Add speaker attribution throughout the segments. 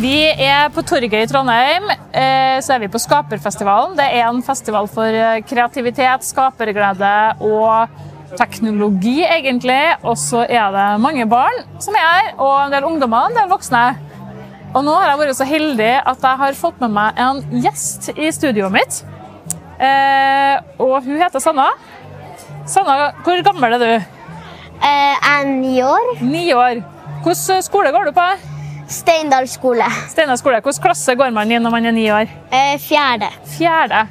Speaker 1: Vi er på Torget i Trondheim. eh, Så er vi på Skaperfestivalen. Det er en festival for eh, kreativitet, skaperglede og teknologi, egentlig. Og så er det mange barn som er her, og en del ungdommer og en del voksne. Og nå har jeg vært så heldig at jeg har fått med meg en gjest i studioet mitt. Eh, Og hun heter Sanna. Sanna, hvor gammel er du?
Speaker 2: Eh, Jeg er ni år.
Speaker 1: Ni år. Hvilken skole går du på?
Speaker 2: Steindal skole.
Speaker 1: Steinar skole. Hvilken klasse går man i når man er ni år?
Speaker 2: Eh, Fjerde.
Speaker 1: Fjerde.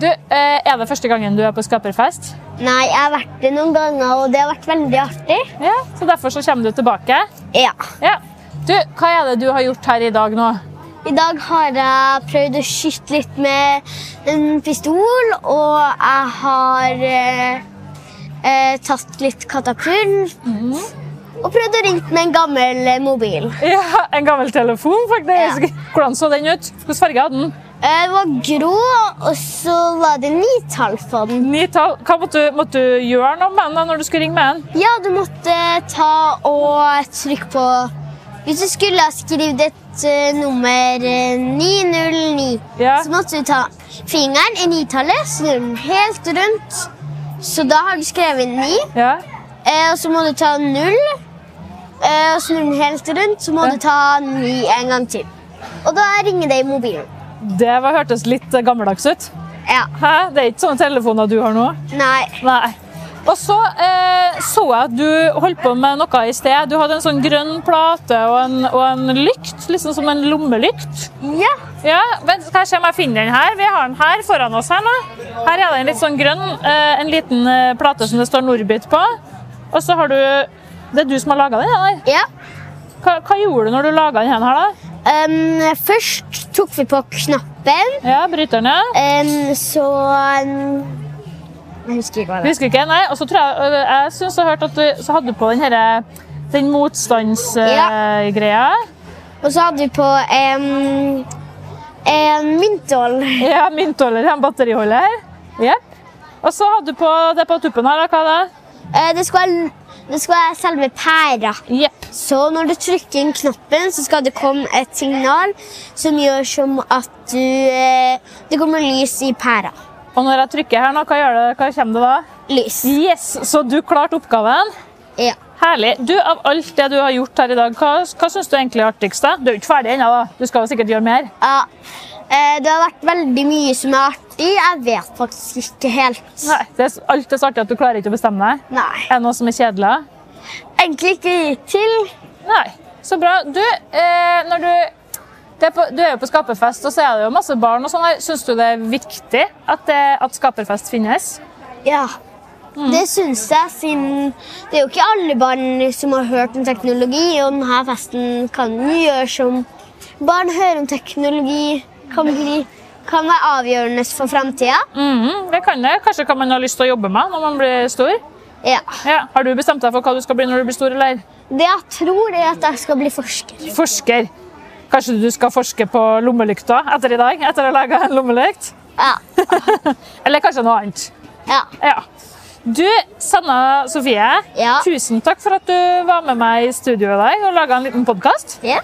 Speaker 1: Du, eh, er det første gangen du er på skaperfest?
Speaker 2: Nei, jeg har vært det noen ganger, og det har vært veldig artig.
Speaker 1: Ja. Så derfor så kommer du tilbake?
Speaker 2: Ja.
Speaker 1: Ja. Du, hva er det du har gjort her i dag nå?
Speaker 2: I dag har jeg prøvd å skyte litt med en pistol, og jeg har eh, eh, tatt litt katapult. Og prøvd å ringe med en gammel eh, mobil.
Speaker 1: Ja, En gammel telefon, faktisk. Hvordan så den ut? Hvilken farge hadde den?
Speaker 2: Eh, Det var grå, og så var det nitall på den.
Speaker 1: Ni tall. Hva måtte, du- måtte du gjøre noe med den da, når du skulle ringe med den?
Speaker 2: Ja, du måtte ta og trykke på Hvis du skulle ha skrevet et eh, nummer eh, 909,
Speaker 1: Ja.
Speaker 2: så måtte du ta fingeren i nitallet, snu den helt rundt. Så da har du skrevet 9,
Speaker 1: Ja.
Speaker 2: eh, og så må du ta 0, eh, og snu den helt rundt, så må
Speaker 1: Ja.
Speaker 2: du ta 9 en gang til. Og da ringer det i mobilen.
Speaker 1: Det var, hørtes litt eh, gammeldags ut.
Speaker 2: Ja.
Speaker 1: Hæ? Det er ikke sånne telefoner du har nå?
Speaker 2: Nei.
Speaker 1: Nei. Og så eh, så jeg at du holdt på med noe i sted. Du hadde en sånn grønn plate og en, og en lykt, liksom som en lommelykt.
Speaker 2: Ja.
Speaker 1: Ja, vent, skal jeg se om jeg finner den her. Vi har den her foran oss her nå. Her er det en litt sånn grønn, eh, en liten eh, plate som det står Norbit på. Og så har du Det er du som har laga den her.
Speaker 2: ja.
Speaker 1: Hva, hva gjorde du når du laga den her, da?
Speaker 2: Um, først tok vi på knappen.
Speaker 1: Ja, bryteren, ja.
Speaker 2: Em, så em, Jeg husker ikke hva
Speaker 1: Jeg
Speaker 2: det var.
Speaker 1: Husker ikke. Nei, og så tror jeg Jeg syns jeg hørte at du så hadde du på den herre den motstandsgreia.
Speaker 2: Ja.
Speaker 1: Eh, greia.
Speaker 2: Og så hadde vi på em, en myntål.
Speaker 1: Ja, myntholder, en batteriholder. Jepp. Og så hadde du på det på tuppen her, da, hva er det?
Speaker 2: Eh, det, skulle være, det skulle være selve pæra.
Speaker 1: Jepp.
Speaker 2: Så når du trykker inn knappen, så skal det komme et signal som gjør som at du eh, Det kommer lys i pæra.
Speaker 1: Og når jeg trykker her nå, hva, gjør det, hva kommer det da?
Speaker 2: Lys.
Speaker 1: Yes, så du klarte oppgaven.
Speaker 2: Ja.
Speaker 1: Herlig. Du, av alt det du har gjort her i dag, hva, hva syns du egentlig er artigst? da? Du er jo ikke ferdig ennå, da. Du skal jo sikkert gjøre mer.
Speaker 2: ja. Eh, det har vært veldig mye som er artig. Jeg vet faktisk ikke helt.
Speaker 1: Nei, det er, s- Alt er så artig at du klarer ikke å bestemme deg.
Speaker 2: Nei.
Speaker 1: Er det noe som er kjedelig?
Speaker 2: Egentlig ikke til.
Speaker 1: Nei. Så bra. Du, eh, når du det er på, du er jo på skaperfest, og så er det jo masse barn. og sånn her. Syns du det er viktig at, det, at skaperfest finnes?
Speaker 2: Ja. Det syns jeg, siden det er jo ikke alle barn som har hørt om teknologi, og denne festen kan jo gjøre som barn hører om teknologi, kan, bli, kan være avgjørende for framtida.
Speaker 1: Mhm, det kan det. Kanskje kan man ha lyst til å jobbe med når man blir stor.
Speaker 2: Ja.
Speaker 1: Ja. Har du bestemt deg for hva du skal bli når du blir stor? eller?
Speaker 2: Det jeg tror, er at jeg skal bli forsker.
Speaker 1: Forsker. Kanskje du skal forske på lommelykta etter i dag? etter å lage en lommelykt?
Speaker 2: Ja.
Speaker 1: Eller kanskje noe annet.
Speaker 2: ja.
Speaker 1: Ja. Du, Sanna Sofie,
Speaker 2: Ja.
Speaker 1: tusen takk for at du var med meg i studio i dag og laga en liten podkast.
Speaker 2: Ja.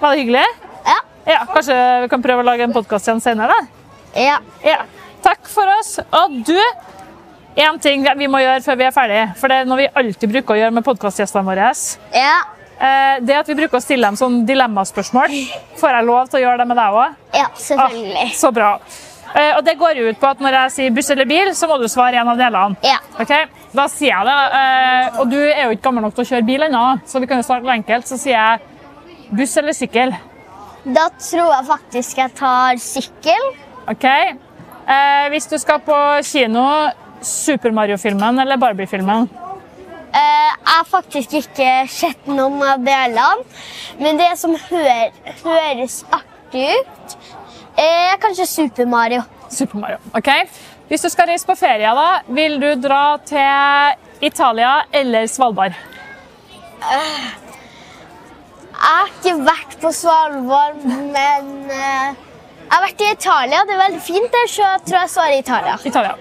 Speaker 1: Var det hyggelig?
Speaker 2: Ja.
Speaker 1: Ja, Kanskje vi kan prøve å lage en podkast igjen senere? da?
Speaker 2: ja.
Speaker 1: Ja. Takk for oss. Og du, én ting vi må gjøre før vi er ferdige, for det er noe vi alltid bruker å gjøre med podkastgjestene våre.
Speaker 2: ja.
Speaker 1: Eh, Det er at vi bruker å stille dem sånn dilemmaspørsmål. Får jeg lov til å gjøre det med deg òg?
Speaker 2: ja selvfølgelig.
Speaker 1: så bra. Eh, Og det går jo ut på at når jeg sier buss eller bil, så må du svare en av delene.
Speaker 2: Ja.
Speaker 1: Ok, Da sier jeg det. eh, Og du er jo ikke gammel nok til å kjøre bil ennå, så vi kan jo starte enkelt. Så sier jeg buss eller sykkel.
Speaker 2: Da tror jeg faktisk jeg tar sykkel.
Speaker 1: Ok. Eh, hvis du skal på kino, Super Mario-filmen eller Barbie-filmen?
Speaker 2: Eh, Jeg har faktisk ikke sett noen av delene, men det som hø- høres artig ut, er kanskje Super Mario.
Speaker 1: Super Mario. Ok. Hvis du skal reise på ferie, da, vil du dra til Italia eller Svalbard?
Speaker 2: Jeg har ikke vært på Svalbard, men eh, jeg har vært i Italia. Det er veldig fint der, så jeg tror jeg svarer Italia.
Speaker 1: Italia.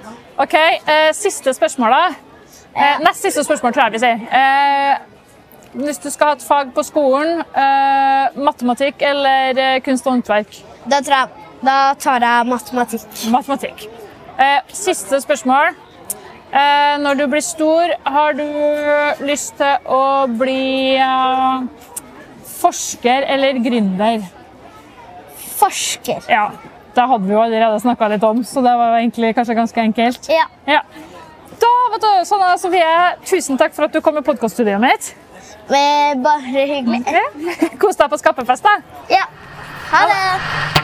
Speaker 1: Ok, eh, Siste spørsmål, da. Eh, nest siste spørsmål, tror jeg vi sier. Eh, hvis du skal ha et fag på skolen, eh, matematikk eller eh, kunst og håndverk?
Speaker 2: Da, tror jeg, da tar jeg matematikk.
Speaker 1: Matematikk. Eh, siste spørsmål. Eh, når du blir stor, har du lyst til å bli eh, forsker eller gründer?
Speaker 2: Forsker.
Speaker 1: Ja, det hadde vi jo allerede snakka litt om, så det var jo egentlig kanskje ganske enkelt.
Speaker 2: Ja.
Speaker 1: Ja. Da, vet du, Sanna Sofie, tusen takk for at du kom i podkaststudioet mitt.
Speaker 2: Men Bare hyggelig.
Speaker 1: Kos deg på skaperfest, da.
Speaker 2: Ja. Ha det.